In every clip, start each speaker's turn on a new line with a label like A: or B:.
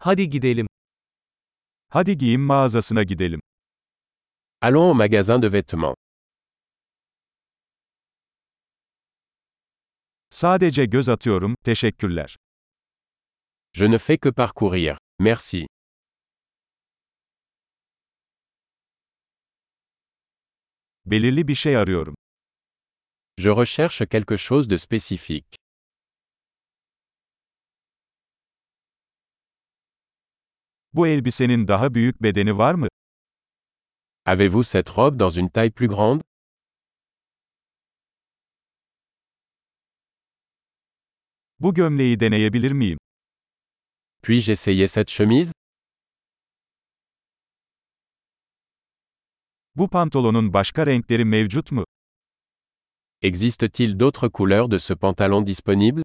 A: Hadi gidelim. Hadi giyim mağazasına gidelim.
B: Allons au magasin de vêtements.
A: Sadece göz atıyorum, teşekkürler.
B: Je ne fais que parcourir. Merci.
A: Belirli bir şey arıyorum.
B: Je recherche quelque chose de spécifique.
A: Bu elbisenin daha büyük bedeni var mı?
B: Avez-vous cette robe dans une taille plus grande
A: Bu gömleği deneyebilir miyim?
B: Puis-je essayer cette chemise
A: Bu pantolonun başka renkleri mevcut mu?
B: Existe-t-il d'autres couleurs de ce pantalon disponible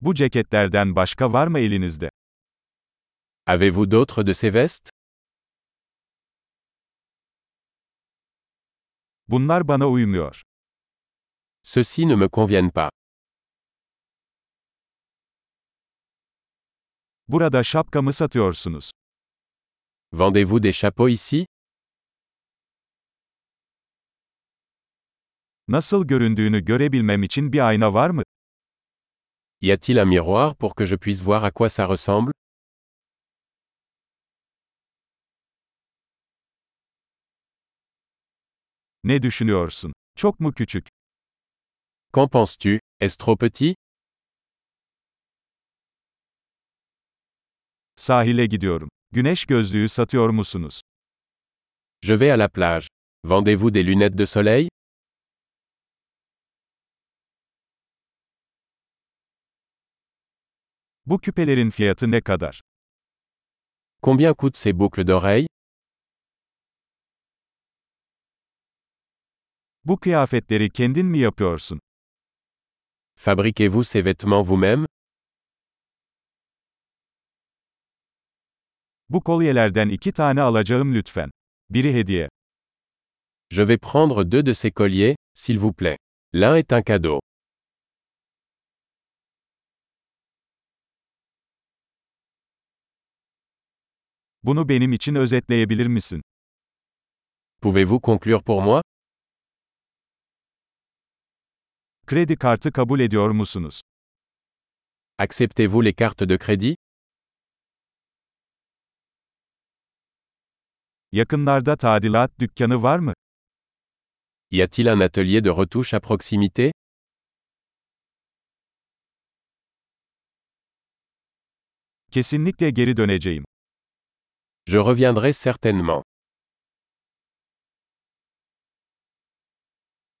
A: Bu ceketlerden başka var mı elinizde?
B: Avez-vous d'autres de ces vestes
A: Bunlar bana uymuyor.
B: Ceux-ci ne me conviennent pas.
A: Burada şapka mı satıyorsunuz?
B: Vendez-vous des chapeaux ici
A: Nasıl göründüğünü görebilmem için bir ayna var mı?
B: Y a-t-il un miroir pour que je puisse voir à quoi ça ressemble
A: Ne düşünüyorsun? Çok mu küçük?
B: Qu'en penses-tu Est-ce trop petit
A: Sahile gidiyorum. Güneş gözlüğü satıyor musunuz?
B: Je vais à la plage. Vendez-vous des lunettes de soleil
A: Bu küpelerin fiyatı ne kadar?
B: Combien coûtent ces boucles d'oreilles
A: Bu kıyafetleri kendin mi yapıyorsun?
B: Fabriquez-vous ces vêtements vous-même
A: Bu kolyelerden iki tane alacağım lütfen. Biri hediye.
B: Je vais prendre deux de ces colliers, s'il vous plaît. L'un est un cadeau.
A: Bunu benim için özetleyebilir misin?
B: Pouvez-vous conclure pour moi
A: Kredi kartı kabul ediyor musunuz?
B: Acceptez-vous les cartes de crédit
A: Yakınlarda tadilat dükkanı var mı?
B: Y a-t-il un atelier de retouche à proximité
A: Kesinlikle geri döneceğim.
B: Je reviendrai certainement.